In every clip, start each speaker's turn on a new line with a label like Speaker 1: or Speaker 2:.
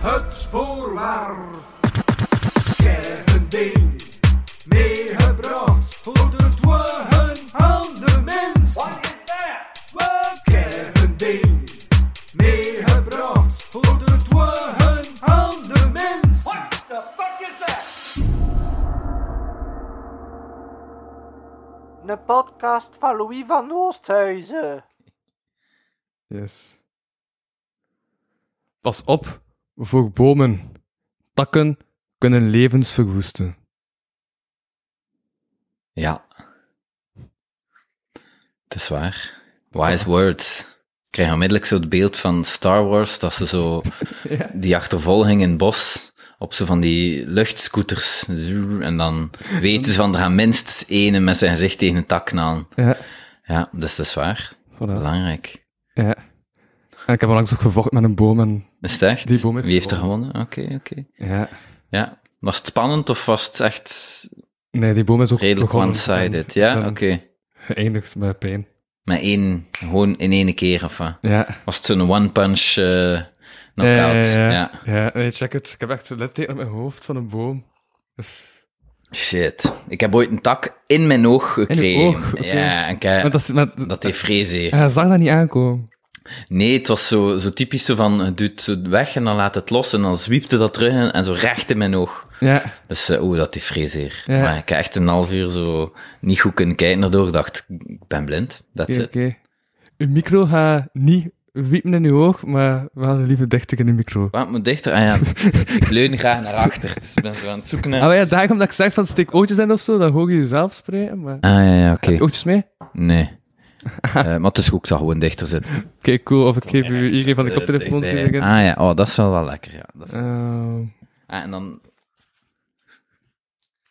Speaker 1: Het voorwaar. Kerkending. Meegebracht voor de dwaren van de mens. Wat is dat? Kerkending. Meegebracht voor de dwaren van de mens.
Speaker 2: Een podcast van Louis van Oosthuizen.
Speaker 3: Yes. Pas op voor bomen. Takken kunnen levens verwoesten.
Speaker 4: Ja. Het is waar. Wise words. Ik krijg onmiddellijk zo het beeld van Star Wars, dat ze zo die achtervolging in het bos op zo van die luchtscooters. En dan weten ze van, er gaan minstens ene met zijn gezicht tegen een tak aan.
Speaker 3: Ja.
Speaker 4: Ja, dus dat is waar.
Speaker 3: Voilà.
Speaker 4: Belangrijk.
Speaker 3: Ja. En ik heb onlangs ook gevochten met een boom en...
Speaker 4: Is het echt?
Speaker 3: Die boom heeft
Speaker 4: Wie heeft er
Speaker 3: gewonnen.
Speaker 4: gewonnen? Oké, oké.
Speaker 3: Ja.
Speaker 4: Ja. Was het spannend of was het echt
Speaker 3: Nee, die boom is ook
Speaker 4: redelijk
Speaker 3: begonnen
Speaker 4: one-sided?
Speaker 3: en-
Speaker 4: Ja, oké.
Speaker 3: en Geëindigd met pijn.
Speaker 4: Maar één, gewoon in één keer of wat?
Speaker 3: Ja.
Speaker 4: Was het zo'n one-punch eh
Speaker 3: ja,
Speaker 4: knockout?
Speaker 3: ja, ja.
Speaker 4: ja.
Speaker 3: Ja, nee, check het. Ik heb echt een litteken op mijn hoofd van een boom. Dus...
Speaker 4: Shit. Ik heb ooit een tak in mijn oog gekregen.
Speaker 3: oog, oké.
Speaker 4: Ja, en
Speaker 3: Maar
Speaker 4: kijk, dat,
Speaker 3: dat, is- maar,
Speaker 4: deed vrezeer.
Speaker 3: Hij zag dat niet aankomen.
Speaker 4: Nee, het was zo, zo typisch zo van, het doet zo weg en dan laat het los en dan zwiepte dat terug en, en zo recht in mijn oog.
Speaker 3: Ja.
Speaker 4: Dus, eh, oeh, dat deed vrezeer.
Speaker 3: Ja.
Speaker 4: Maar ik heb echt een half uur zo niet goed kunnen kijken. Daardoor dacht ik, ik ben blind. Dat
Speaker 3: Oké. oké. Uw micro gaat niet wiepen in uw oog, maar wel een lieve dichter in de micro.
Speaker 4: Wat moet dichter? Ah ja, ik leun graag naar achter. Dus ik ben zo aan het zoeken naar...
Speaker 3: Ah, maar ja, daarom dat ik zeg van steek ootjes in of zo, dan hoor je jezelf spreken. Maar...
Speaker 4: Ah ja, ja oké.
Speaker 3: Heb je Ootjes mee? Oké,
Speaker 4: Nee. Eh, maar het is goed, ik zal gewoon dichter zitten.
Speaker 3: cool. Of ik geef u
Speaker 4: Echt
Speaker 3: iedereen van de
Speaker 4: eh,
Speaker 3: koptelefoon.
Speaker 4: dichtbij. Ah ja, oh, dat is wel wel lekker, ja. Dat-
Speaker 3: Eh,
Speaker 4: Ah, en dan...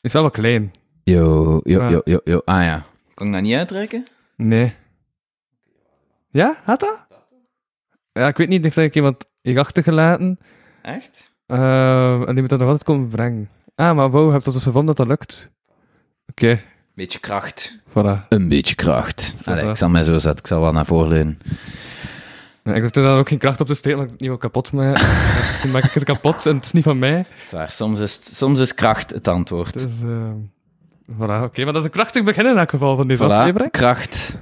Speaker 3: is wel wat klein.
Speaker 4: Yo, yo,
Speaker 3: Ah.
Speaker 4: yo, yo, yo. Ah ja. Kan ik dat niet uitrekken?
Speaker 3: Nee. Ja, had dat? Ja, ik weet niet. Ik heb ik iemand hier achtergelaten.
Speaker 4: Echt?
Speaker 3: eh, en die moet dat nog altijd komen brengen. Ah, maar wow, heb je dat dus gevonden dat dat lukt? Oké,
Speaker 4: Beetje kracht.
Speaker 3: voilà.
Speaker 4: Een beetje kracht. Allee, ik zal mij zo zetten. Ik zal wel naar voren leunen.
Speaker 3: Nee, ik hoefde daar ook geen kracht op te steken, want ik het niet wil kapot maken. Misschien maak ik het kapot en het is niet van mij.
Speaker 4: Het is waar. Soms is, het- soms is kracht het antwoord.
Speaker 3: Dus, ehm voilà, oké. Maar dat is een krachtig begin in elk geval van deze
Speaker 4: Voilà,
Speaker 3: aflevering.
Speaker 4: kracht.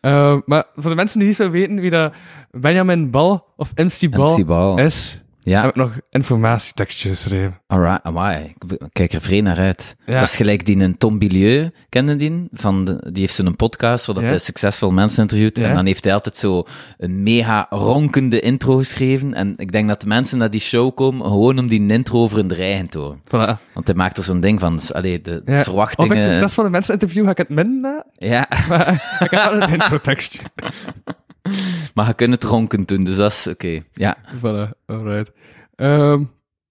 Speaker 3: Eh, maar voor de mensen die niet zo weten wie dat Benjamin Bal of MC Bal,
Speaker 4: MC Bal.
Speaker 3: is, heb
Speaker 4: Ja,
Speaker 3: ik nog informatietekstjes geschreven.
Speaker 4: alright. Amai. Ik be- kijk er vreemd naar uit.
Speaker 3: Ja.
Speaker 4: Dat is gelijk die een Tom Bilieu, kende die? Van de- die heeft zo'n podcast waar dat
Speaker 3: Ja.
Speaker 4: hij succesvol mensen interviewt.
Speaker 3: Ja.
Speaker 4: En dan heeft hij altijd zo een mega ronkende intro geschreven. En ik denk dat de mensen naar die show komen gewoon om die intro over hun eigen te horen.
Speaker 3: Voilà.
Speaker 4: Want hij maakt er zo'n ding van. Dus, allee, de
Speaker 3: Ja.
Speaker 4: verwachtingen.
Speaker 3: Of ik succesvolle mensen interview, ga ik het min na.
Speaker 4: Ja,
Speaker 3: Maar ik heb wel een introtekstje.
Speaker 4: maar je kunt het ronken doen, dus dat is oké. Ja.
Speaker 3: Voilà, alright. Ehm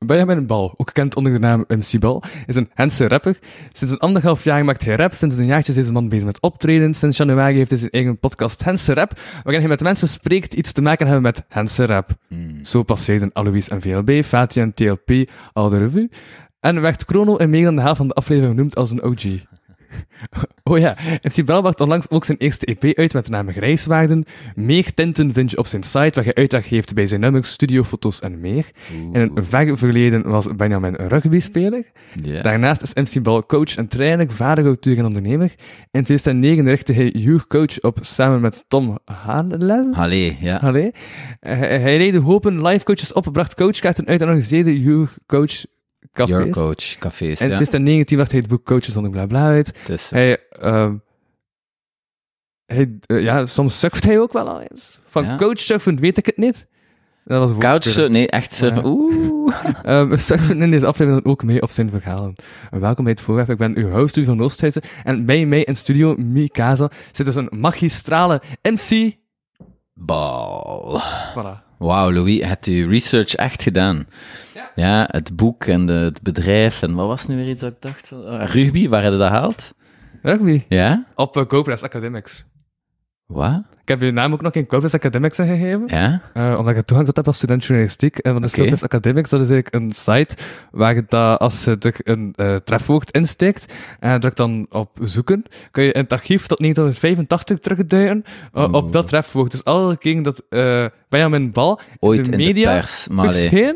Speaker 3: Benjamin Bal, ook gekend onder de naam MC Bal, is een Hense rapper. Sinds een anderhalf jaar maakt hij rap. Sinds een jaartje is deze man bezig met optreden. Sinds januari heeft hij zijn eigen podcast Hense Rap, waarin hij met mensen spreekt die iets te maken hebben met Hense rap. Zo passeerden Alois en VLB, Fatih en TLP al de revue. En werd Chrono in meer dan de helft van de aflevering genoemd als een OG. Oh ja, MC Bel bracht onlangs ook zijn eerste EP uit met de naam Grijswaarden. Meer tinten vind je op zijn site, waar hij uitleg heeft bij zijn nummers, studiofoto's en meer. In het ver verleden was Benjamin een rugbyspeler.
Speaker 4: Ja.
Speaker 3: Daarnaast is MC Bal coach en trainer, vader, auteur en ondernemer. In 2009 richtte hij Youth Coach op samen met Tom Haanles.
Speaker 4: Allee, ja.
Speaker 3: Allee. Eh, hij leidde hopen live coaches op, bracht coachkaarten uit en organiseerde Youth Coach
Speaker 4: Your
Speaker 3: cafés.
Speaker 4: coach, cafés.
Speaker 3: En in
Speaker 4: Ja.
Speaker 3: 2019 bracht hij het boek Coaches zonder bla bla uit.
Speaker 4: Het is-
Speaker 3: Hij, ehm, hij, eh, ja, soms sukt hij ook wel al eens. Van
Speaker 4: Ja.
Speaker 3: coachsurfen weet ik het niet. Dat was woordspelen.
Speaker 4: Couchsurfen, nee, echt surfen.
Speaker 3: Ja.
Speaker 4: Oeh.
Speaker 3: Ehm, surfen in deze aflevering dan ook mee op zijn verhalen. Welkom bij het voorwerp. Ik ben uw host, Louis van Oosthuizen. En bij mij in studio Mikasa zit dus een magistrale MC.
Speaker 4: Bal.
Speaker 3: Voilà.
Speaker 4: Wauw, Louis, hebt je research echt gedaan? Ja. het boek en de- het bedrijf en wat was nu weer iets dat ik dacht? oh, van- ah, rugby, waar heb je dat gehaald?
Speaker 3: Rugby.
Speaker 4: Ja?
Speaker 3: Op uh, GoPress Academics.
Speaker 4: Wat?
Speaker 3: Ik heb je naam ook nog in Corpus Academics gegeven.
Speaker 4: Ja?
Speaker 3: Eh, omdat je toegang tot hebt als student journalistiek. En van de
Speaker 4: Oké.
Speaker 3: Corpus Academics, dat is eigenlijk een site waar je dat, als je er een eh, trefwoord insteekt eh, en je drukt dan op zoeken, kun je in het archief tot 1985 terugduiken eh, op dat trefwoord. Dus alle keer dat eh, Benjamin Bal
Speaker 4: Ooit
Speaker 3: de
Speaker 4: in
Speaker 3: media
Speaker 4: de pers. Maar allee.
Speaker 3: verscheen,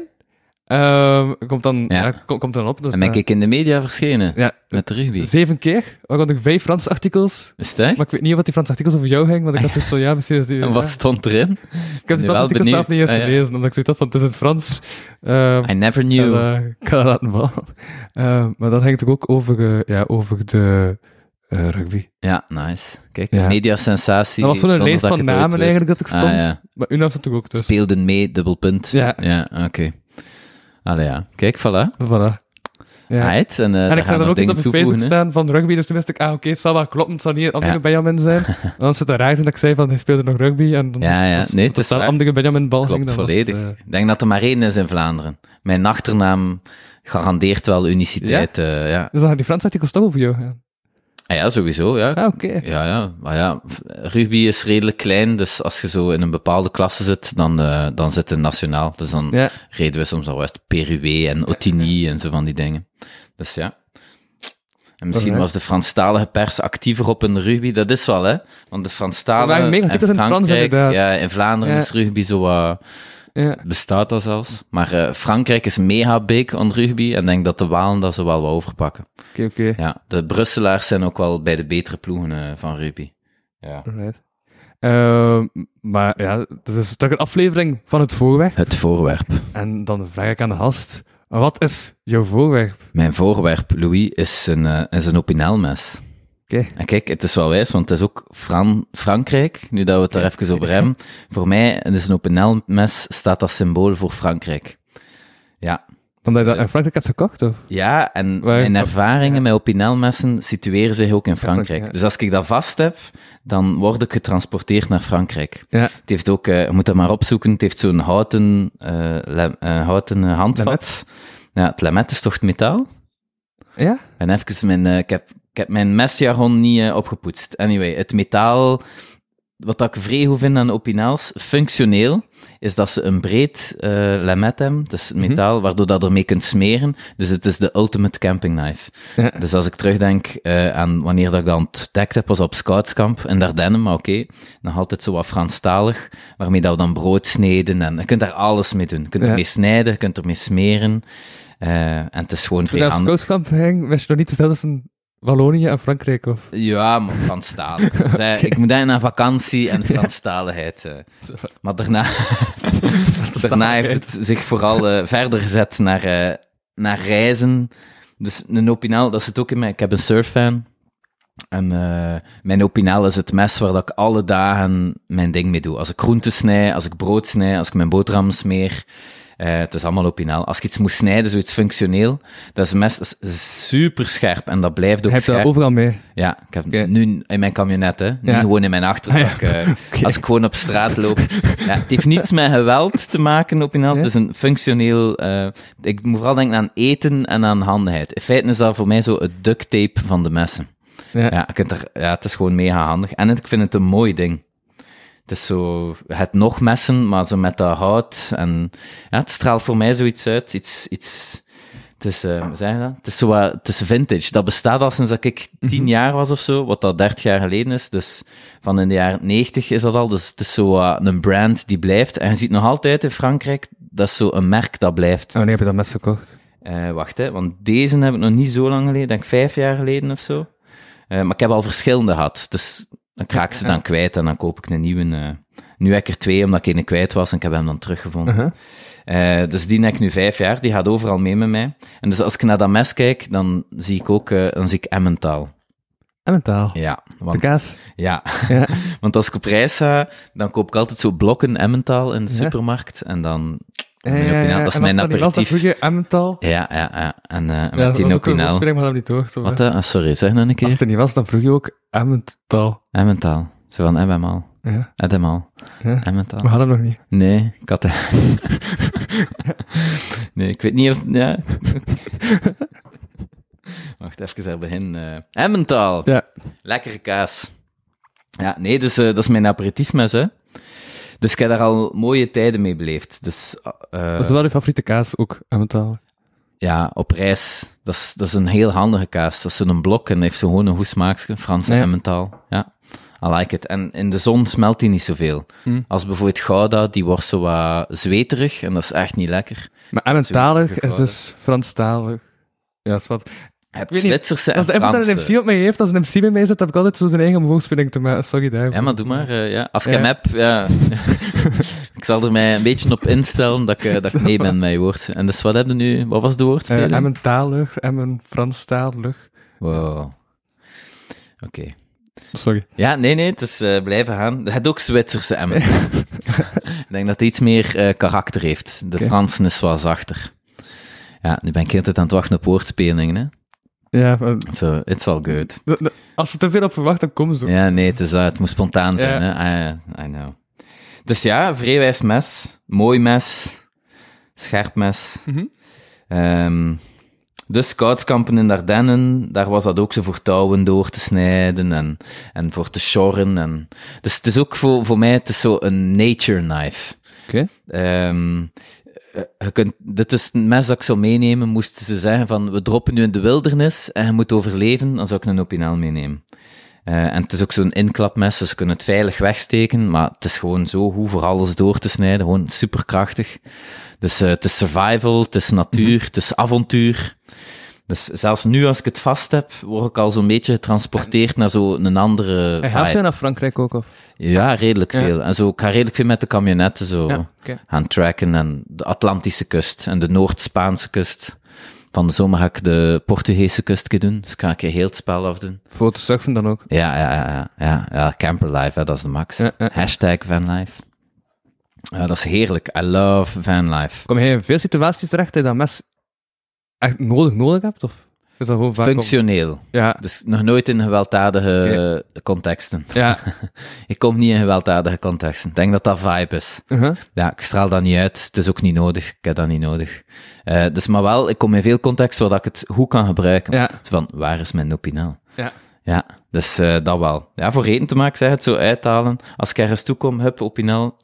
Speaker 3: eh, komt, dan,
Speaker 4: Ja.
Speaker 3: ja, kom- komt dan op. Dus,
Speaker 4: En ben
Speaker 3: eh,
Speaker 4: ik in de media verschenen.
Speaker 3: ja,
Speaker 4: Met de rugby.
Speaker 3: zeven keer, waaronder vijf Franse artikels.
Speaker 4: Is het echt?
Speaker 3: Maar ik weet niet wat die Franse artikels over jou ging, want ik had zoiets van, ja, misschien is die...
Speaker 4: En
Speaker 3: ja.
Speaker 4: wat stond erin?
Speaker 3: Ik heb
Speaker 4: Nu
Speaker 3: die
Speaker 4: wel
Speaker 3: artikel zelf niet
Speaker 4: benieuwd.
Speaker 3: eens
Speaker 4: Ah, ja. Ah,
Speaker 3: gelezen, omdat ik zoiets had van, het is in het Frans. Ehm,
Speaker 4: I never knew.
Speaker 3: en, eh, ik kan dat laten vallen. Ehm, maar dat ging het ook over, eh, ja, over de eh, rugby.
Speaker 4: Ja, nice. Kijk,
Speaker 3: Ja.
Speaker 4: mediasensatie.
Speaker 3: dat was zo'n
Speaker 4: zonder
Speaker 3: lijst
Speaker 4: dat
Speaker 3: van
Speaker 4: ik het ooit
Speaker 3: namen
Speaker 4: wist.
Speaker 3: eigenlijk dat ik stond.
Speaker 4: Ah, ja.
Speaker 3: Maar uw naam stond er ook tussen.
Speaker 4: Speelden mee, dubbel punt.
Speaker 3: Ja.
Speaker 4: oké. Allee, ja. Kijk, voilà.
Speaker 3: Voilà. Ja.
Speaker 4: Right, en eh
Speaker 3: en
Speaker 4: Ah, daar
Speaker 3: ik zag
Speaker 4: gaan
Speaker 3: dan
Speaker 4: nog
Speaker 3: ook iets op
Speaker 4: dingen
Speaker 3: de Facebook
Speaker 4: toevoegen. hè.
Speaker 3: staan van rugby, dus toen wist ik, ah oké, het zal wel kloppen, het zal niet een andere
Speaker 4: Ja.
Speaker 3: Benjamin zijn. En dan zit er raar en ik zei van, hij speelde nog rugby. En dan,
Speaker 4: Ja, ja.
Speaker 3: als-
Speaker 4: Nee,
Speaker 3: dat
Speaker 4: het is
Speaker 3: daar
Speaker 4: waar.
Speaker 3: andere Benjamin bal ging,
Speaker 4: Klopt,
Speaker 3: dan was het,
Speaker 4: volledig.
Speaker 3: eh,
Speaker 4: Ik denk dat er maar één is in Vlaanderen. Mijn achternaam garandeert wel uniciteit. eh, Ja, ja.
Speaker 3: dus dan had die Frans artikel toch over jou gaan.
Speaker 4: Ah, ja sowieso, ja.
Speaker 3: Ah, oké.
Speaker 4: Ja, ja. Maar ja, v- rugby is redelijk klein, dus als je zo in een bepaalde klasse zit, dan, eh, dan zit het nationaal. Dus dan
Speaker 3: Ja.
Speaker 4: reden we soms al West Peruwe en Otini en zo van die dingen. Dus ja. En misschien
Speaker 3: Alright.
Speaker 4: was de Franstalige pers actiever op in rugby, dat is wel, hè? Want de
Speaker 3: Er
Speaker 4: Franstalige.
Speaker 3: waren mega
Speaker 4: en
Speaker 3: artikels in het Frans,
Speaker 4: Frankrijk-
Speaker 3: inderdaad.
Speaker 4: Ja, in Vlaanderen
Speaker 3: Ja.
Speaker 4: is rugby zo wat.
Speaker 3: ja.
Speaker 4: bestaat dat zelfs. Maar eh, Frankrijk is mega big on rugby en denk dat de Walen dat ze wel wat overpakken.
Speaker 3: Oké, oké.
Speaker 4: Ja, de Brusselaars zijn ook wel bij de betere ploegen eh, van rugby. Ja.
Speaker 3: Alright. Ehm, maar ja, dus het is toch een aflevering van het voorwerp.
Speaker 4: Het voorwerp.
Speaker 3: En dan vraag ik aan de gast, wat is jouw voorwerp?
Speaker 4: Mijn voorwerp, Louis, is een, eh, is een opinelmes.
Speaker 3: Oké.
Speaker 4: En kijk, het is wel wijs, want het is ook Fran Frankrijk, nu dat we het daar even over hebben. Voor mij, het is een opinelmes, staat dat symbool voor Frankrijk. Ja,
Speaker 3: Omdat je dat in Frankrijk hebt gekocht, of?
Speaker 4: Ja, en
Speaker 3: Waar-
Speaker 4: mijn ervaringen met opinelmessen situeren zich ook in Frankrijk.
Speaker 3: ja.
Speaker 4: Dus als ik dat vast heb, dan word ik getransporteerd naar Frankrijk.
Speaker 3: Ja.
Speaker 4: Het heeft ook, eh, je moet dat maar opzoeken, het heeft zo'n houten, eh, lem- eh, houten eh, handvat. Ja, het lamet is toch het metaal?
Speaker 3: Ja?
Speaker 4: En even mijn, eh, ik, heb, ik heb mijn mesjargon niet eh, opgepoetst. Anyway, het metaal, wat dat ik vrij goed vind aan opinaals, functioneel, is dat ze een breed eh lamet hebben. Dat is het
Speaker 3: Mhm.
Speaker 4: metaal, waardoor dat ermee kunt smeren. Dus het is de ultimate camping knife.
Speaker 3: Ja.
Speaker 4: Dus als ik terugdenk eh, aan wanneer dat ik dat ontdekt heb, was op scoutskamp in Dardenne, maar oké, nog altijd zo wat Franstalig, waarmee dat we dan brood sneden. En je kunt daar alles mee doen. Je kunt
Speaker 3: Ja.
Speaker 4: ermee snijden, je kunt ermee smeren. eh, en het is gewoon
Speaker 3: Toen
Speaker 4: vrij
Speaker 3: je naar
Speaker 4: handig.
Speaker 3: het kooskamp ging, wist je nog niet hetzelfde tussen Wallonië en Frankrijk, of?
Speaker 4: Ja, maar Franstalig. Dus, eh, Ik moet eigenlijk naar vakantie en Franstaligheid. eh. Maar daarna, daarna heeft het zich vooral eh, verder gezet naar, eh, naar reizen. Dus een opinaal, dat zit ook in mij. Ik heb een surffan. En eh, mijn opinaal is het mes waar dat ik alle dagen mijn ding mee doe. Als ik groenten snij, als ik brood snij, als ik mijn boterham smeer. eh, het is allemaal opinaal. Als ik iets moest snijden, zoiets functioneel, dat is mes dat is super scherp en dat blijft ook
Speaker 3: Hij hebt
Speaker 4: scherp.
Speaker 3: dat overal mee.
Speaker 4: Ja, ik heb
Speaker 3: Oké.
Speaker 4: nu in mijn camionet, hè. Nu
Speaker 3: Ja. Ah,
Speaker 4: gewoon in mijn achterzak. eh, Als ik gewoon op straat loop. ja, het heeft niets met geweld te maken, op inhoud.
Speaker 3: Ja.
Speaker 4: Het is een functioneel... eh, ik moet vooral denken aan eten en aan handigheid. In feite is dat voor mij zo het duct tape van de messen.
Speaker 3: Ja.
Speaker 4: Ja, je kunt er, ja het is gewoon mega handig. En het- ik vind het een mooi ding. Het is zo... Het nog messen, maar zo met dat hout. En ja, het straalt voor mij zoiets uit. Iets... iets het is, eh, hoe zeg je dat? Het is, zo, wat- het is vintage. Dat bestaat al sinds dat ik tien jaar was of zo, wat dat 30 jaar geleden is. Dus van in de jaren 90 is dat al. Dus het is zo wat een brand die blijft. En je ziet nog altijd in Frankrijk, dat is zo een merk dat blijft.
Speaker 3: En wanneer heb je dat mes gekocht?
Speaker 4: Eh, wacht, hè, want deze heb ik nog niet zo lang geleden, denk ik vijf jaar geleden of zo. Eh, maar ik heb al verschillende gehad. Dus dan raak ik ze dan kwijt en dan koop ik een nieuwe. eh. nu heb ik er twee, omdat ik ene kwijt was en ik heb hem dan teruggevonden.
Speaker 3: Uh-huh.
Speaker 4: Eh, dus die heb ik nu vijf jaar, die gaat overal mee met mij. En dus als ik naar dat mes kijk, dan zie ik ook eh, dan zie ik Emmental.
Speaker 3: En mentaal.
Speaker 4: Ja,
Speaker 3: De
Speaker 4: want,
Speaker 3: kaas.
Speaker 4: ja.
Speaker 3: Ja.
Speaker 4: want als ik op reis ga, dan koop ik altijd zo blokken Emmental in de supermarkt. En dan, mijn opinaal, dat is
Speaker 3: En
Speaker 4: mijn
Speaker 3: dat niet nou- was, dan
Speaker 4: aperitief.
Speaker 3: vroeg je Emmental.
Speaker 4: Ja, ja, ja. En eh,
Speaker 3: Ja, dat
Speaker 4: met die
Speaker 3: was ook nou. een
Speaker 4: opinaal.
Speaker 3: woordspeling, maar dat heb ik niet gehoord.
Speaker 4: Wat, hè? Ah, sorry, zeg nog een
Speaker 3: Als
Speaker 4: keer.
Speaker 3: het er niet was, dan vroeg je ook Emmental.
Speaker 4: Emmental. Zo van Emmental.
Speaker 3: Ja.
Speaker 4: Emmental.
Speaker 3: Ja.
Speaker 4: Emmental.
Speaker 3: We hadden hem nog niet.
Speaker 4: Nee, katten. nee, ik weet niet of... Ja. Wacht, even er begin. eh Emmental.
Speaker 3: Ja.
Speaker 4: Lekkere kaas. Ja, nee, dus eh, dat is mijn aperitiefmes, hè. Dus ik heb daar al mooie tijden mee beleefd. Dus eh,
Speaker 3: Dat is wel je favoriete kaas ook aan mijn tafel.
Speaker 4: ja, op reis, dat is, dat is een heel handige kaas. Dat is zo'n blok en heeft zo gewoon een goed smaakje, Franse
Speaker 3: Ja.
Speaker 4: Emmental. Ja, I like it. En in de zon smelt die niet zoveel.
Speaker 3: Hmm.
Speaker 4: Als bijvoorbeeld Gouda, die wordt zo wat zweterig en dat is echt niet lekker.
Speaker 3: Maar Emmentalig is
Speaker 4: gekouden.
Speaker 3: dus Franstalig. Ja, is wat.
Speaker 4: Je hebt
Speaker 3: weet niet,
Speaker 4: Zwitserse en
Speaker 3: Als eh, de Emmental
Speaker 4: Franse.
Speaker 3: een MC op mij heeft, als een MC bij mij zit, heb ik altijd zo zijn eigen bewoordspeling te maken. Sorry daarvoor.
Speaker 4: Ja, maar doe maar. eh, ja. Als ik
Speaker 3: Ja.
Speaker 4: hem heb, ja. ik zal er mij een beetje op instellen dat ik, eh, dat ik mee ben met je woord. En dus wat heb je nu? Wat was de
Speaker 3: Eh,
Speaker 4: woordspeling?
Speaker 3: Emmentalig, Emmen Franstalig.
Speaker 4: wow. Oké.
Speaker 3: Sorry.
Speaker 4: Ja, nee, nee, het is eh, blijven gaan. Het heeft ook Zwitserse emmen. ik denk dat het iets meer eh, karakter heeft. De
Speaker 3: Oké.
Speaker 4: Fransen is wel zachter. Ja, nu ben ik altijd aan het wachten op woordspelingen, hè.
Speaker 3: Ja, maar-
Speaker 4: So, it's all good.
Speaker 3: de- de- als ze te veel op verwacht, dan komen ze. ook.
Speaker 4: Ja, nee, het, is, dat. het moet spontaan zijn,
Speaker 3: Ja.
Speaker 4: hè. Ah, I, I know. Dus ja, vreewijs mes. Mooi mes. Scherp mes.
Speaker 3: Mhm.
Speaker 4: Ehm, de scoutskampen in de Ardennen, daar was dat ook zo voor touwen door te snijden en, en voor te sjorren. En, dus het is ook voor, voor mij, het is zo een nature knife.
Speaker 3: Oké.
Speaker 4: Ehm, eh, je kunt, dit is een mes dat ik zou meenemen, moesten ze zeggen van, we droppen nu in de wildernis en je moet overleven, dan zou ik een opinaal meenemen. Eh, en het is ook zo'n inklapmes, dus ze kunnen het veilig wegsteken, maar het is gewoon zo goed voor alles door te snijden, gewoon superkrachtig. Dus eh, het is survival, het is natuur, het is avontuur. Dus zelfs nu als ik het vast heb, word ik al zo'n beetje getransporteerd naar zo'n andere
Speaker 3: Hij gaat
Speaker 4: vibe.
Speaker 3: weer naar Frankrijk ook, of?
Speaker 4: Ja, redelijk
Speaker 3: Ja.
Speaker 4: veel. En zo, ik ga redelijk veel met de camionetten zo
Speaker 3: Ja, oké.
Speaker 4: gaan tracken. En de Atlantische kust en de Noord-Spaanse kust. Van de zomer ga ik de Portugese kust een keer doen. Dus ik ga ik heel het spel afdoen.
Speaker 3: Voor te surfen dan ook.
Speaker 4: Ja, ja, ja, ja. ja, ja camperlife, hè, dat is de max.
Speaker 3: Ja, ja.
Speaker 4: Hashtag vanlife. Ja, dat is heerlijk. I love vanlife.
Speaker 3: Kom je in veel situaties terecht dat je dat mes echt nodig nodig hebt? Of is dat gewoon vaak... om-
Speaker 4: Functioneel.
Speaker 3: Ja,
Speaker 4: Dus nog nooit in gewelddadige eh, contexten.
Speaker 3: ja.
Speaker 4: Ik kom niet in gewelddadige contexten. Ik denk dat dat vibe is.
Speaker 3: Uh-huh.
Speaker 4: Ja, ik straal dat niet uit. Het is ook niet nodig. Ik heb dat niet nodig. Eh, dus, maar wel, ik kom in veel contexten waar dat ik het goed kan gebruiken.
Speaker 3: Ja.
Speaker 4: Zo van, waar is mijn opinaal?
Speaker 3: ja.
Speaker 4: Ja, dus eh, dat wel. Ja, voor reden te maken, zeg het zo uithalen. Als ik ergens toe kom, hup, opinaal.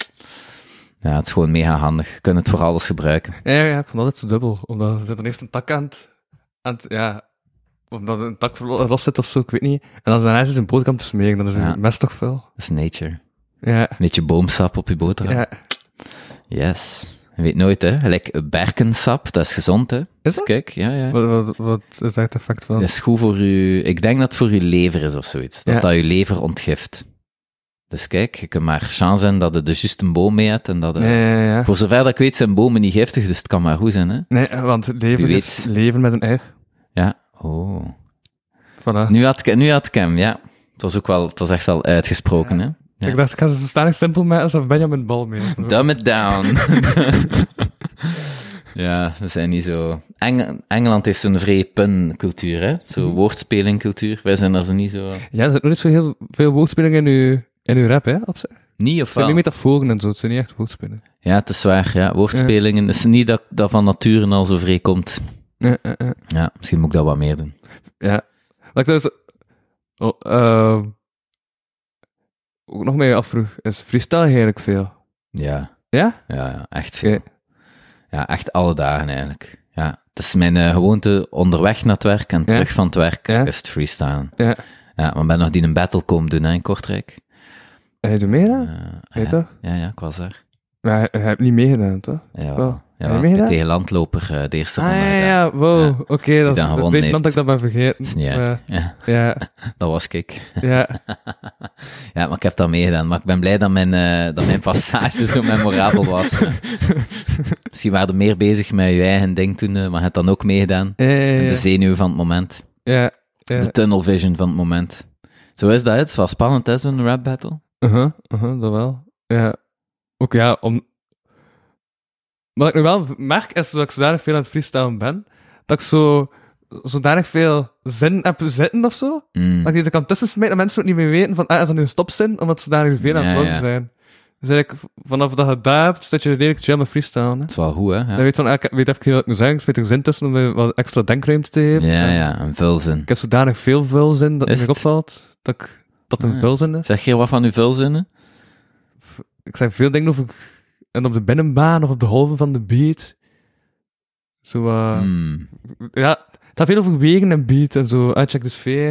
Speaker 4: Ja, het is gewoon mega handig. Je kunt het voor alles gebruiken.
Speaker 3: Ja, ja, ja, ik vond dat altijd zo dubbel. Omdat er zit dan eerst een tak aan het... Aan het ja, omdat een tak verlo- los zit of zo, ik weet niet. En dan daarna is het een boterham te smeren, dan is een
Speaker 4: Ja.
Speaker 3: mes toch vuil.
Speaker 4: Dat is nature. Een
Speaker 3: Ja,
Speaker 4: beetje boomsap op je boterham.
Speaker 3: ja.
Speaker 4: Yes. Je weet nooit, hè. Gelijk berkensap, dat is gezond, hè. Dus
Speaker 3: dat?
Speaker 4: kijk, ja, ja.
Speaker 3: Wat, wat, wat is daar het effect van?
Speaker 4: Dat is goed voor je... Ik denk dat het voor je lever is of zoiets. Dat
Speaker 3: Ja.
Speaker 4: dat je lever ontgift. Dus kijk, je kunt maar chance zijn dat het dus juist een boom mee hebt en dat... het-
Speaker 3: Ja, ja, ja.
Speaker 4: Voor zover dat ik weet zijn bomen niet giftig, dus het kan maar goed zijn, hè?
Speaker 3: Nee, want leven
Speaker 4: Wie
Speaker 3: is
Speaker 4: weet.
Speaker 3: leven met een R.
Speaker 4: Ja. Oh.
Speaker 3: Voilà.
Speaker 4: Nu had ik, nu had ik hem, ja. Het was ook wel... Het was echt wel uitgesproken, hè? Ja.
Speaker 3: Ik dacht, ik ga ze verstandig simpel maken alsof Benjamin Bal mee is.
Speaker 4: Dumb it down. ja, we zijn niet zo... Eng- Engeland heeft zo'n vrij pun-cultuur, hè? Zo'n woordspelingcultuur. Wij zijn er zo niet zo...
Speaker 3: Ja, er zit nog niet zo heel veel woordspelingen in uw, in uw rap, hè? Op zich. Het
Speaker 4: Niet of
Speaker 3: zijn
Speaker 4: wel?
Speaker 3: niet metaforen en zo, het zijn niet echt woordspelingen.
Speaker 4: Ja, het is waar. Ja. Woordspelingen. Het is niet dat dat van nature al zo vrij komt.
Speaker 3: Ja, ja, ja.
Speaker 4: Ja, misschien moet ik dat wat meer doen.
Speaker 3: ja. Wat ik dus oh, ehm, ook nog meer afvroeg, is freestyle heerlijk veel?
Speaker 4: Ja,
Speaker 3: Ja?
Speaker 4: ja, ja, echt veel.
Speaker 3: Oké.
Speaker 4: Ja, echt alle dagen eigenlijk. Ja, het is mijn eh, gewoonte onderweg naar het werk en terug van het werk
Speaker 3: Ja.
Speaker 4: is het freestylen.
Speaker 3: Ja.
Speaker 4: Ja, maar ik ben nog die een battle komen doen hè, in Kortrijk.
Speaker 3: En je doet mee dan?
Speaker 4: Eh,
Speaker 3: Weet
Speaker 4: ja,
Speaker 3: dat?
Speaker 4: ja, ja, ik was daar.
Speaker 3: Maar je, je hebt niet meegedaan, toch?
Speaker 4: Ja,
Speaker 3: Wel,
Speaker 4: ja,
Speaker 3: heb je meegedaan?
Speaker 4: tegen landloper eh, de eerste
Speaker 3: Ah,
Speaker 4: ronde.
Speaker 3: ja,
Speaker 4: gedaan.
Speaker 3: ja, wow. Oké, dat
Speaker 4: dan
Speaker 3: is het
Speaker 4: gewonnen
Speaker 3: weet
Speaker 4: heeft.
Speaker 3: dat ik dat ben vergeten.
Speaker 4: Dat is niet erg.
Speaker 3: Maar,
Speaker 4: Ja,
Speaker 3: ja,
Speaker 4: dat was ik.
Speaker 3: ja.
Speaker 4: Ja, maar ik heb dat meegedaan. Maar ik ben blij dat mijn, eh, dat mijn passage zo memorabel was. Ja. Misschien waren we meer bezig met je eigen ding toen, eh, maar je hebt dan ook meegedaan.
Speaker 3: Ja, ja,
Speaker 4: En
Speaker 3: ja.
Speaker 4: De zenuw van het moment.
Speaker 3: ja, ja.
Speaker 4: De tunnel vision van het moment. Zo is dat, hè. het is wel spannend, hè, zo'n rap battle.
Speaker 3: Uh-huh, uh-huh, dat wel. Ja. Ook ja, om... Wat ik nu wel merk, is dat ik zodanig veel aan het freestylen ben, dat ik zo zodanig veel zin heb zitten of zo,
Speaker 4: Mm.
Speaker 3: dat ik die er kan tussen smijten en mensen ook niet meer weten van, ah, is dat nu een stopzin? Omdat ze zodanig veel aan
Speaker 4: Ja,
Speaker 3: het worden
Speaker 4: ja.
Speaker 3: zijn. Dus eigenlijk, v- vanaf dat je daar hebt, dat je redelijk chill met freestylen. Hè.
Speaker 4: Dat is wel goed, hè.
Speaker 3: Dan
Speaker 4: Ja,
Speaker 3: weet je van, ah, ik weet even niet wat ik moet zeggen, ik smijt er zin tussen om me wat extra denkruimte te geven.
Speaker 4: ja,
Speaker 3: En
Speaker 4: ja een vulzin.
Speaker 3: Ik heb zodanig veel vulzin dat het
Speaker 4: Is
Speaker 3: me
Speaker 4: het?
Speaker 3: opvalt, dat ik... dat een
Speaker 4: Ah.
Speaker 3: vulzin is.
Speaker 4: Zeg je wat van uw vulzinnen?
Speaker 3: Ik zeg veel dingen over... En op de binnenbaan of op de golven van de beat. Zo, eh,
Speaker 4: Hmm.
Speaker 3: ja, het gaat veel over wegen en beat en zo. Uitcheck de sfeer.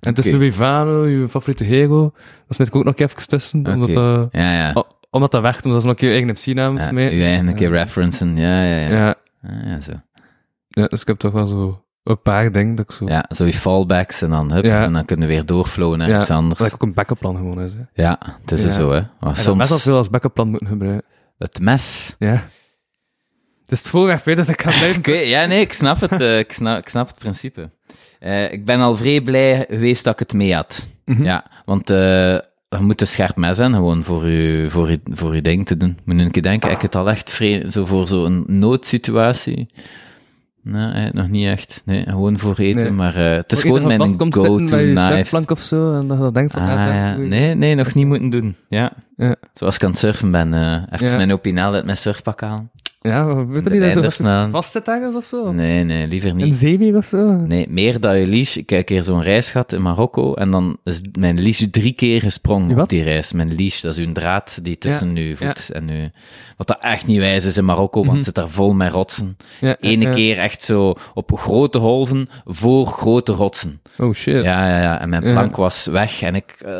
Speaker 3: En het is
Speaker 4: Oké.
Speaker 3: Louis Vano, je favoriete hero. Dat smet ik ook nog even tussen, omdat,
Speaker 4: Oké.
Speaker 3: eh,
Speaker 4: Ja, ja.
Speaker 3: oh, omdat dat werkt, omdat dat is nog een eigen MC-naam
Speaker 4: ja
Speaker 3: mee.
Speaker 4: uw eigen keer referencen. Ja, ja, ja.
Speaker 3: Eh. Ja,
Speaker 4: Ah, ja, zo.
Speaker 3: ja, dus ik heb toch wel zo een paar dingen dat ik zo...
Speaker 4: Ja, zo je fallbacks en dan, hup,
Speaker 3: Ja.
Speaker 4: en dan kunnen we weer doorflowen naar
Speaker 3: Ja,
Speaker 4: iets anders.
Speaker 3: Dat ik ook een backup plan gewoon is. Hè. En
Speaker 4: Ja, het is
Speaker 3: Ja.
Speaker 4: zo, hè. Maar
Speaker 3: dat best wel
Speaker 4: soms
Speaker 3: veel als backup plan moeten gebruiken.
Speaker 4: het mes.
Speaker 3: Ja. Het is het voorwerp, hè, dus ik ga blijven...
Speaker 4: Ik weet- ja, nee, ik snap het, eh, ik, snap, ik snap het principe. Eh, ik ben al vrij blij geweest dat ik het mee had.
Speaker 3: Mhm.
Speaker 4: Ja, want eh, je moet een scherp mes hebben gewoon voor je, voor je, voor je ding te doen. Moet nu een keer denken, heb ik het al echt vrij, zo voor zo'n noodsituatie? Nee, eigenlijk nog niet echt. Nee, gewoon voor eten,
Speaker 3: Nee.
Speaker 4: maar eh, het is
Speaker 3: Voor
Speaker 4: gewoon
Speaker 3: iedereen
Speaker 4: mijn
Speaker 3: dat vast komt
Speaker 4: go-to
Speaker 3: zitten bij je
Speaker 4: knife.
Speaker 3: surfplank of zo, en dat je dan denkt van...
Speaker 4: Ah,
Speaker 3: dat
Speaker 4: ja.
Speaker 3: is goed.
Speaker 4: Nee, nee, nog niet moeten doen. Ja.
Speaker 3: Ja.
Speaker 4: Zoals ik aan het surfen ben, eh even
Speaker 3: Ja.
Speaker 4: mijn opinaal uit mijn surfpak aan.
Speaker 3: Ja, weet je niet,
Speaker 4: De
Speaker 3: dat je zo
Speaker 4: einders
Speaker 3: vast-
Speaker 4: na-
Speaker 3: vast zit ergens of zo?
Speaker 4: Nee, nee, liever niet.
Speaker 3: Een zeewier of zo?
Speaker 4: Nee, meer dan je leash. Ik heb een keer zo'n reis gehad in Marokko en dan is mijn leash drie keer gesprongen
Speaker 3: Je wat?
Speaker 4: op die reis. Mijn leash, dat is uw draad die tussen uw voet en uw... Wat dat echt niet wijs is in Marokko, want het zit daar vol met rotsen.
Speaker 3: Mhm. Ja,
Speaker 4: Ene
Speaker 3: ja.
Speaker 4: keer echt zo op grote golven voor grote rotsen.
Speaker 3: Oh shit.
Speaker 4: Ja, ja, ja. En mijn
Speaker 3: Ja.
Speaker 4: plank was weg en ik... eh,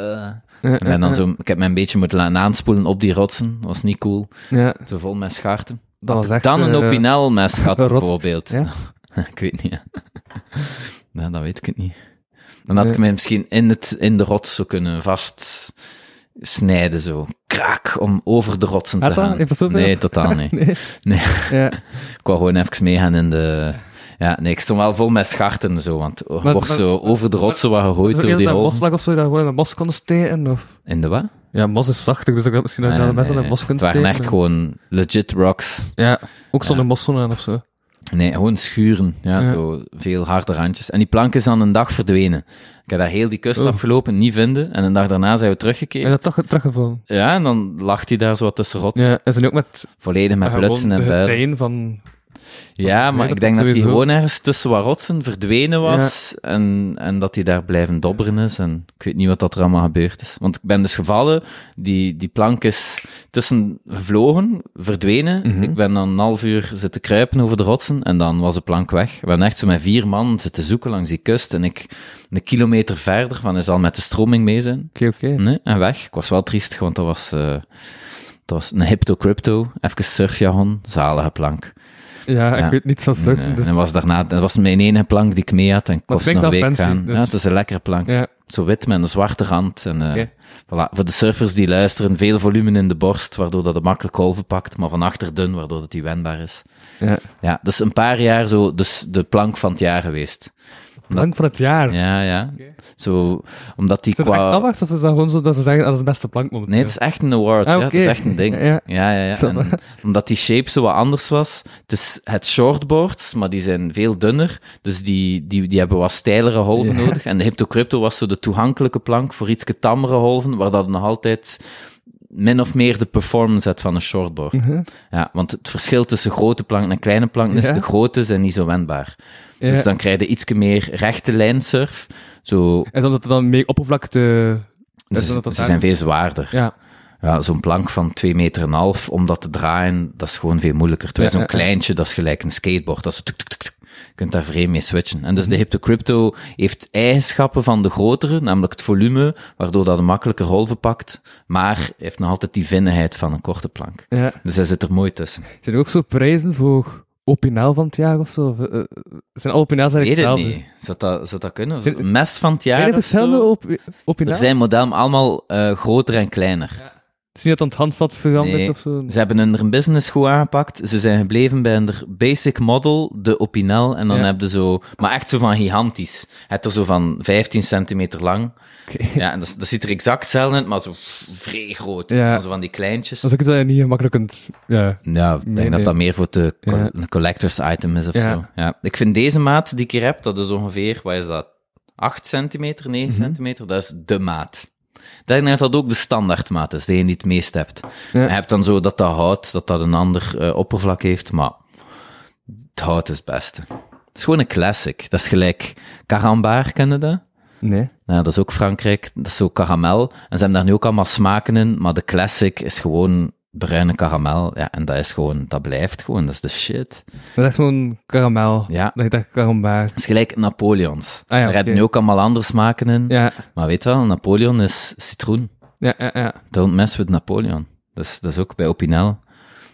Speaker 4: ik
Speaker 3: ja,
Speaker 4: ben dan zo, ik heb mij een beetje moeten laten aanspoelen op die rotsen. Dat was niet cool.
Speaker 3: Ja,
Speaker 4: Zo vol met schaarten.
Speaker 3: dat was echt...
Speaker 4: Dan een
Speaker 3: eh,
Speaker 4: opinel mes gehad,
Speaker 3: rot.
Speaker 4: bijvoorbeeld.
Speaker 3: Ja?
Speaker 4: ik weet niet. Ja. nou, dat weet ik het niet. Dan had ik
Speaker 3: Nee.
Speaker 4: mij misschien in, het, in de rots zo kunnen vastsnijden, zo. Kraak, om over de rotsen
Speaker 3: Had
Speaker 4: te
Speaker 3: dat?
Speaker 4: gaan.
Speaker 3: Heeft dat zoveel?
Speaker 4: nee, totaal niet.
Speaker 3: Ja.
Speaker 4: Ik wou gewoon even meegaan in de... Ja, nee, ik stond wel vol met scharten, zo, want je
Speaker 3: Maar-
Speaker 4: wordt
Speaker 3: maar-
Speaker 4: zo over de rotsen waar gegooid
Speaker 3: Zo
Speaker 4: door
Speaker 3: eerder
Speaker 4: die
Speaker 3: dat
Speaker 4: rol.
Speaker 3: bosvlak of zo, dat je gewoon in een bos kon steken, of...
Speaker 4: In de wat?
Speaker 3: Ja, mos is zachtig, dus ik had misschien dat je
Speaker 4: Ah,
Speaker 3: dat net in
Speaker 4: nee,
Speaker 3: een bos
Speaker 4: het
Speaker 3: kunt
Speaker 4: waren
Speaker 3: steken.
Speaker 4: echt gewoon legit rocks.
Speaker 3: Ja, ook zonder mosselen aan of zo.
Speaker 4: Nee, gewoon schuren. Ja,
Speaker 3: Ja.
Speaker 4: Zo veel harde randjes. En die plank is aan een dag verdwenen. Ik heb daar heel die kust
Speaker 3: Oh.
Speaker 4: afgelopen, niet vinden. En een dag daarna zijn we teruggekeerd.
Speaker 3: En dat toch teruggevallen.
Speaker 4: Ja, en dan lag hij daar zo wat tussen rot.
Speaker 3: Ja, en ze nu ook met
Speaker 4: Volledig met blutsen en builen.
Speaker 3: pijn van...
Speaker 4: Ja, maar
Speaker 3: Ja,
Speaker 4: ik denk dat hij
Speaker 3: sowieso.
Speaker 4: gewoon ergens tussen wat rotsen verdwenen was. En, en dat hij daar blijven dobberen is. En ik weet niet wat dat er allemaal gebeurd is. Want ik ben dus gevallen. Die, die plank is tussen gevlogen, verdwenen.
Speaker 3: Mhm.
Speaker 4: Ik ben dan een half uur zitten kruipen over de rotsen. En dan was de plank weg. We hebben echt zo met vier man zitten zoeken langs die kust. En ik een kilometer verder van is al met de stroming mee zijn.
Speaker 3: Oké, oké.
Speaker 4: Nee, en weg. Ik was wel triestig, want dat was, eh, dat was een hypto-crypto. Even surfjagon, zalige plank.
Speaker 3: Ja,
Speaker 4: Ja.
Speaker 3: ik weet niets van
Speaker 4: Nee,
Speaker 3: surfen, dus...
Speaker 4: En dat was daarna, dat was mijn enige plank die ik mee had en ik
Speaker 3: Maar
Speaker 4: kost
Speaker 3: het
Speaker 4: nog een
Speaker 3: klinkt
Speaker 4: week
Speaker 3: wel fancy,
Speaker 4: gaan.
Speaker 3: dus-
Speaker 4: Ja, het is een lekkere plank.
Speaker 3: Ja,
Speaker 4: Zo wit met een zwarte rand. En, eh,
Speaker 3: Oké.
Speaker 4: voilà. Voor de surfers die luisteren, veel volume in de borst, waardoor dat het makkelijk golven pakt, maar van achter dun, waardoor dat die wendbaar is.
Speaker 3: ja.
Speaker 4: Ja, dat is een paar jaar zo dus de plank van het jaar geweest.
Speaker 3: Plank van het jaar.
Speaker 4: Ja, ja. Zo, omdat die
Speaker 3: Is dat echt
Speaker 4: qua...
Speaker 3: afwacht, of is dat gewoon zo dat ze zeggen dat is het beste plank momenteel?
Speaker 4: Nee, het is echt een award.
Speaker 3: Ah,
Speaker 4: ja. Het
Speaker 3: oké.
Speaker 4: is echt een ding.
Speaker 3: Ja,
Speaker 4: Ja,
Speaker 3: ja.
Speaker 4: ja, ja.
Speaker 3: Zo.
Speaker 4: En omdat die shape zo wat anders was. Het is het shortboards, maar die zijn veel dunner. Dus die, die, die hebben wat steilere golven
Speaker 3: Ja.
Speaker 4: nodig. En de Hyptocrypto was zo de toegankelijke plank voor iets tammere golven, waar dat nog altijd min of meer de performance had van een shortboard.
Speaker 3: Mhm.
Speaker 4: Ja, want het verschil tussen grote plank en kleine plank is,
Speaker 3: Ja.
Speaker 4: de grote zijn niet zo wendbaar.
Speaker 3: Ja.
Speaker 4: Dus dan krijg je iets meer rechte lijnsurf. Zo,
Speaker 3: En dan dat er dan meer oppervlakte...
Speaker 4: dus
Speaker 3: dan dat dat
Speaker 4: ze
Speaker 3: daar-
Speaker 4: zijn veel zwaarder.
Speaker 3: Ja,
Speaker 4: Ja, zo'n plank van 2 meter en een half, om dat te draaien, dat is gewoon veel moeilijker. Terwijl
Speaker 3: Ja,
Speaker 4: zo'n
Speaker 3: ja, ja.
Speaker 4: kleintje, dat is gelijk een skateboard. Dat is zo tuk, tuk, tuk, tuk. Je kunt daar vreemd mee switchen. En dus de
Speaker 3: Mhm.
Speaker 4: Hyptocrypto heeft eigenschappen van de grotere, namelijk het volume, waardoor dat een makkelijker golven pakt, maar heeft nog altijd die vinnigheid van een korte plank.
Speaker 3: ja.
Speaker 4: Dus hij zit er mooi tussen.
Speaker 3: Zijn er ook zo prijzen voor opinaal van het jaar of zo? Of, eh, eh, zijn alle opinaals
Speaker 4: Ik weet
Speaker 3: eigenlijk
Speaker 4: het
Speaker 3: hetzelfde?
Speaker 4: niet. Zou dat, zou dat kunnen?
Speaker 3: Zijn-
Speaker 4: Een mes van het
Speaker 3: Zijn
Speaker 4: jaar
Speaker 3: er
Speaker 4: of
Speaker 3: verschillende
Speaker 4: zo?
Speaker 3: op, opinaal?
Speaker 4: Er zijn modellen allemaal eh, groter en kleiner.
Speaker 3: Het is niet dat aan het handvat verandert
Speaker 4: Nee.
Speaker 3: of zo?
Speaker 4: Ze hebben hun hun business goed aangepakt. Ze zijn gebleven bij hun basic model, de Opinel. En dan
Speaker 3: Ja.
Speaker 4: hebben ze zo... Maar echt zo van gigantisch. Het is zo van 15 centimeter lang.
Speaker 3: Oké.
Speaker 4: Ja, en dat, dat ziet er exact hetzelfde uit, maar zo vrij groot.
Speaker 3: Ja.
Speaker 4: Maar Zo van die kleintjes.
Speaker 3: Dat is ook iets dat je niet gemakkelijk kunt... Ja.
Speaker 4: Ja, ik denk
Speaker 3: Nee,
Speaker 4: dat
Speaker 3: nee.
Speaker 4: dat meer voor de co-
Speaker 3: Ja.
Speaker 4: een collectors item is of
Speaker 3: Ja.
Speaker 4: zo. Ja. Ik vind deze maat die ik hier heb, dat is ongeveer, wat is dat? 8 centimeter, 9
Speaker 3: Mhm.
Speaker 4: centimeter, dat is de maat. Ik denk dat dat ook de standaardmaat is, die je niet het meest hebt.
Speaker 3: Ja.
Speaker 4: Je hebt dan zo dat dat hout, dat dat een ander eh, oppervlak heeft, maar het hout is het beste. Het is gewoon een classic. Dat is gelijk karambaar, ken je dat?
Speaker 3: Nee.
Speaker 4: Ja, Nou, dat is ook Frankrijk. Dat is zo karamel. En ze hebben daar nu ook allemaal smaken in, maar de classic is gewoon bruine karamel. Ja, en dat is gewoon, dat blijft gewoon. Dat is de shit.
Speaker 3: Dat is echt gewoon karamel.
Speaker 4: Ja.
Speaker 3: Dat je echt karambaar.
Speaker 4: Het is gelijk Napoleons.
Speaker 3: Ah ja,
Speaker 4: daar hebben
Speaker 3: oké.
Speaker 4: nu ook allemaal andere smaken in.
Speaker 3: Ja,
Speaker 4: Maar weet wel, Napoleon is citroen.
Speaker 3: ja, ja. ja.
Speaker 4: Don't mess with Napoleon. Dus dat is ook bij Opinel.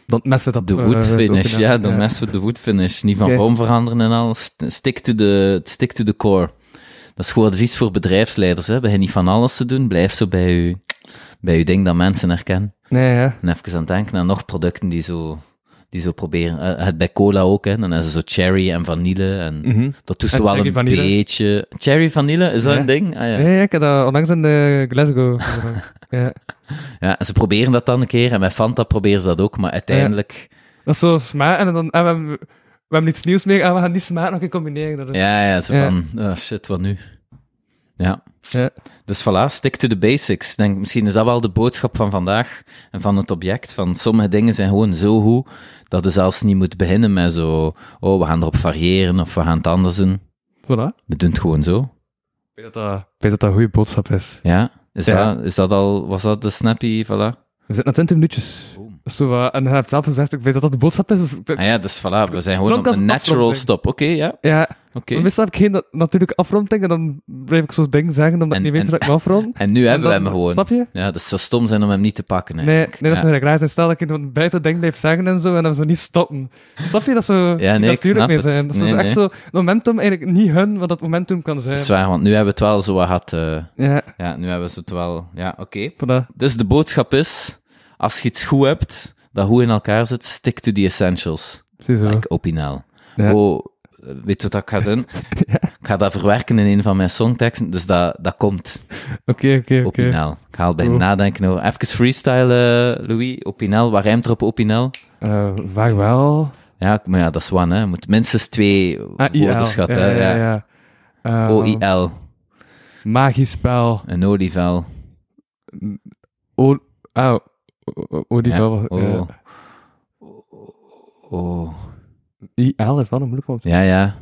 Speaker 3: Dan met dat...
Speaker 4: De
Speaker 3: eh,
Speaker 4: wood
Speaker 3: dat
Speaker 4: finish,
Speaker 3: ook-
Speaker 4: ja, don't mess with the wood finish. Niet van
Speaker 3: Oké.
Speaker 4: vorm veranderen en al. St- Stick to the, stick to the core. Dat is goed advies voor bedrijfsleiders. Hè. Begin niet van alles te doen. Blijf zo bij je, bij je ding dat mensen herkennen.
Speaker 3: Nee, ja.
Speaker 4: En even aan het denken aan nog producten die zo, die zo proberen. Eh, het bij cola ook, hè. Dan hebben ze zo cherry en vanille. En dat doet ze
Speaker 3: Mm. En
Speaker 4: wel
Speaker 3: cherry
Speaker 4: een
Speaker 3: vanille?
Speaker 4: beetje. Cherry vanille, is dat
Speaker 3: Ja.
Speaker 4: een ding? Ah, ja.
Speaker 3: Nee, ik heb dat onlangs in de Glasgow gedaan. ja.
Speaker 4: ja, en ze proberen dat dan een keer. En met Fanta proberen ze dat ook. Maar uiteindelijk.
Speaker 3: Dat is zo smaak en dan... En we, hebben, we hebben iets nieuws mee en we gaan die smaak nog een combineren. Dat is-
Speaker 4: Ja, ja, zo
Speaker 3: Ja.
Speaker 4: van. ah, shit, wat nu? Ja.
Speaker 3: Ja.
Speaker 4: Dus voilà, stick to the basics. Denk, misschien is dat wel de boodschap van vandaag en van het object. Van sommige dingen zijn gewoon zo goed dat je zelfs niet moet beginnen met zo. Oh, we gaan erop variëren of we gaan het anders doen.
Speaker 3: Voilà.
Speaker 4: We doen het gewoon zo.
Speaker 3: Ik weet dat dat, ik weet dat, dat een goede boodschap is.
Speaker 4: Ja. Is,
Speaker 3: Ja.
Speaker 4: Dat, is dat al. Was dat de snappy? Voilà.
Speaker 3: We zitten na 20 minuutjes.
Speaker 4: Boom.
Speaker 3: Dat is Zo, wat- en hij heeft zelf gezegd, ik weet dat dat de boodschap is. Dus, dat-
Speaker 4: Ah ja, dus voilà, we zijn gewoon
Speaker 3: klonk
Speaker 4: op
Speaker 3: als
Speaker 4: een
Speaker 3: een
Speaker 4: natural
Speaker 3: afronding.
Speaker 4: stop. Oké, ja.
Speaker 3: ja,
Speaker 4: Oké.
Speaker 3: Maar meestal heb ik geen na- natuurlijke afronding en dan blijf ik zo'n ding zeggen omdat
Speaker 4: En-
Speaker 3: ik niet weet
Speaker 4: en-
Speaker 3: dat ik me afrond.
Speaker 4: En nu
Speaker 3: En
Speaker 4: hebben we
Speaker 3: dan-
Speaker 4: hem gewoon.
Speaker 3: Snap je?
Speaker 4: Ja, dus het zou stom zijn om hem niet te pakken.
Speaker 3: Nee, nee,
Speaker 4: eigenlijk.
Speaker 3: dat is
Speaker 4: ja.
Speaker 3: eigenlijk raar. zijn. Stel dat ik een buiten ding blijf zeggen en zo, en dan zo niet stoppen. Snap je dat ze
Speaker 4: nee, ik snap
Speaker 3: natuurlijk mee
Speaker 4: het.
Speaker 3: zijn? Dat is
Speaker 4: Nee,
Speaker 3: zo echt
Speaker 4: nee.
Speaker 3: zo momentum eigenlijk niet hun wat dat momentum kan zijn.
Speaker 4: Dat is waar, want nu hebben we het wel zo wat gehad. eh,
Speaker 3: Ja,
Speaker 4: ja, nu hebben ze het wel. Ja, oké.
Speaker 3: voilà.
Speaker 4: Dus de boodschap is: als je iets goed hebt, dat goed in elkaar zit, stick to the essentials.
Speaker 3: Ziezo.
Speaker 4: Like Opinel.
Speaker 3: Ja.
Speaker 4: Oh, eh, weet je wat ik ga doen? Ik ga dat verwerken in een van mijn songteksten, dus dat, dat komt.
Speaker 3: Oké, oké, oké.
Speaker 4: Opinel. Ik haal bij
Speaker 3: Cool.
Speaker 4: nadenken over. Even freestyle, eh, Louis. Opinel, waar rijmt er op Opinel?
Speaker 3: Eh, Vaarwel.
Speaker 4: Ja, maar ja, dat is one, hè. Je moet minstens twee
Speaker 3: Ah, IL.
Speaker 4: woorden schatten.
Speaker 3: ja,
Speaker 4: hè.
Speaker 3: ja,
Speaker 4: ja.
Speaker 3: ja. Eh,
Speaker 4: OIL,
Speaker 3: Magisch spel.
Speaker 4: een olievel.
Speaker 3: O... Ah, o- o-
Speaker 4: Ja,
Speaker 3: oliebel.
Speaker 4: oh.
Speaker 3: eh,
Speaker 4: Oh.
Speaker 3: IL is wel een moeilijk woord.
Speaker 4: Ja, ja.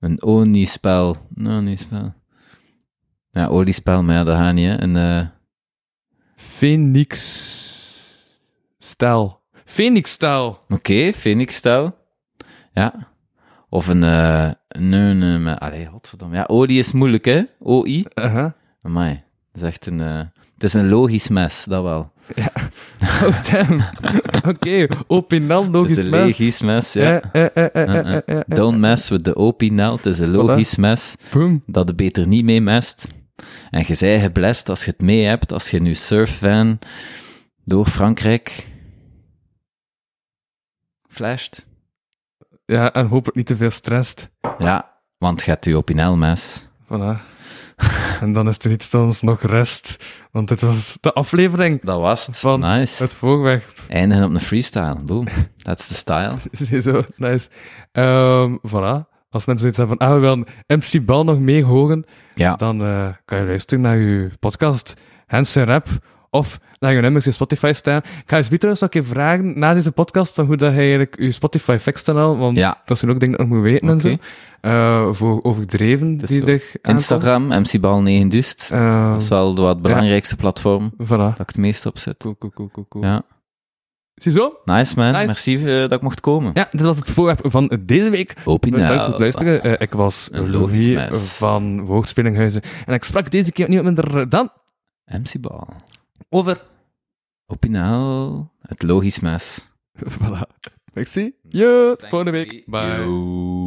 Speaker 4: Een Oni-spel. Een Oni-spel. Ja, oliespel, maar ja, dat gaat niet, hè. Een, eh,
Speaker 3: Phoenix. Stel. Phoenix stel.
Speaker 4: Oké, Phoenix-stijl. Ja. Of een... eh nee, nee, maar... Allee, godverdomme. Ja, olie is moeilijk, hè. OI. Amai. Dat is echt een... eh, Het is een logisch mes, dat wel.
Speaker 3: Oh, damn. Oké, opinel
Speaker 4: Het
Speaker 3: logisch
Speaker 4: is een
Speaker 3: mes.
Speaker 4: logisch mes, ja.
Speaker 3: Eh, eh, eh, eh, eh,
Speaker 4: Eh, eh.
Speaker 3: eh, eh, eh.
Speaker 4: Don't mess with the opinel. Het is een logisch mes.
Speaker 3: Boom.
Speaker 4: dat je beter niet mee mest. En je zij geblest als je het mee hebt, als je nu surfvan door Frankrijk flasht.
Speaker 3: Ja, en hopelijk niet te veel stress.
Speaker 4: Ja, want je hebt je opinel mes.
Speaker 3: Voilà. en dan is er iets dat ons nog rest. Want dit was de aflevering.
Speaker 4: Dat was het.
Speaker 3: Van
Speaker 4: nice.
Speaker 3: Het voorweg.
Speaker 4: Eindigen op een freestyle. Boom. That's the style.
Speaker 3: Zo, nice. Ehm, voilà. Als mensen zoiets hebben van, ah, we willen MC Bal nog mee horen,
Speaker 4: Ja.
Speaker 3: dan eh, kan je luisteren naar je podcast Hansen Rap of naar je nummers die op Spotify staan. Ik ga je Sbi trouwens nog een keer vragen na deze podcast van hoe dat hij eigenlijk je Spotify fixt en al, want
Speaker 4: Ja.
Speaker 3: dat zijn ook dingen die ik nog moet weten en
Speaker 4: Oké.
Speaker 3: zo. Eh, voor overdreven
Speaker 4: is
Speaker 3: die
Speaker 4: zo.
Speaker 3: er aankomt.
Speaker 4: Instagram, mcbal90dust.
Speaker 3: Eh,
Speaker 4: Dat is wel de wat belangrijkste platform
Speaker 3: voilà.
Speaker 4: dat ik het meest op zit.
Speaker 3: Cool, cool, cool, cool, cool.
Speaker 4: Ja.
Speaker 3: Ziezo?
Speaker 4: Nice man,
Speaker 3: Nice.
Speaker 4: merci eh, dat ik mocht komen.
Speaker 3: Ja, dit was het voorwerp van deze week.
Speaker 4: Opinel.
Speaker 3: Bedankt voor het luisteren. Eh, ik was
Speaker 4: Nou, Een logisch
Speaker 3: Louis
Speaker 4: mens.
Speaker 3: van Woordspelinghuizen. En ik sprak deze keer niet minder dan
Speaker 4: MC Bal.
Speaker 3: over...
Speaker 4: Opinel, het logisch mes.
Speaker 3: Voilà. Merci. Ja, tot
Speaker 4: Thanks,
Speaker 3: volgende week.
Speaker 4: Louis.
Speaker 3: Bye.
Speaker 4: Yo.